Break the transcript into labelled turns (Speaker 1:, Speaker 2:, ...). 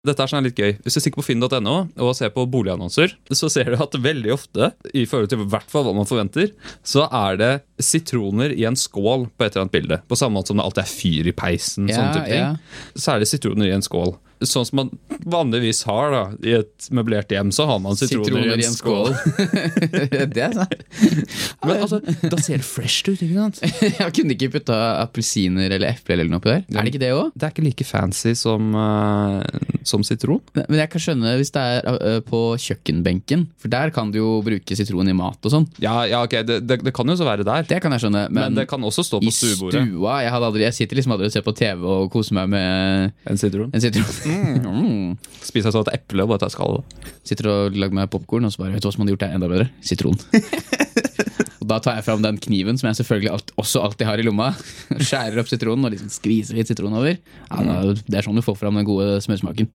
Speaker 1: Dette er sånn litt gøy. Hvis du stikker på finn.no og ser på boligannonser, så ser du at veldig ofte, i forhold til i hvert fall hva man forventer, så er det sitroner i en skål på et eller annet bilde. På samme måte som det alltid er fyr i peisen. sånne type ting. Så er det sitroner i en skål. Sånn som man vanligvis har da, i et møblert hjem. så har man sitroner, i en skål.
Speaker 2: det er sant.
Speaker 1: Men altså, Da ser det fresh ut. ikke sant?
Speaker 2: Jeg kunne ikke putta appelsiner eller epler eller noe oppi der. Er det ikke det òg?
Speaker 1: Det er ikke like fancy som, eh, som sitron.
Speaker 2: Men jeg kan skjønne hvis det er eh, på kjøkkenbenken, for der kan du jo bruke sitron i mat og sånn.
Speaker 1: Ja, ja, ok, det, det, det kan jo så være der.
Speaker 2: Det kan jeg skjønne,
Speaker 1: men,
Speaker 2: men,
Speaker 1: det kan også stå
Speaker 2: i
Speaker 1: på
Speaker 2: stua
Speaker 1: stuebordet.
Speaker 2: jeg, hadde aldri, jeg sitter liksom aldri og ser på TV og koser meg med
Speaker 1: En sitron.
Speaker 2: en sitron. Mm.
Speaker 1: Spiser jeg så et eple og bare tar skallet.
Speaker 2: Sitter og lager meg popkorn, og så bare Vet du hva som hadde gjort det enda bedre? Sitron. og da tar jeg fram den kniven som jeg selvfølgelig alt, også alltid har i lomma. Skjærer opp sitronen og liksom skviser litt sitron over. Ja, da, det er sånn du får fram den gode smørsmaken.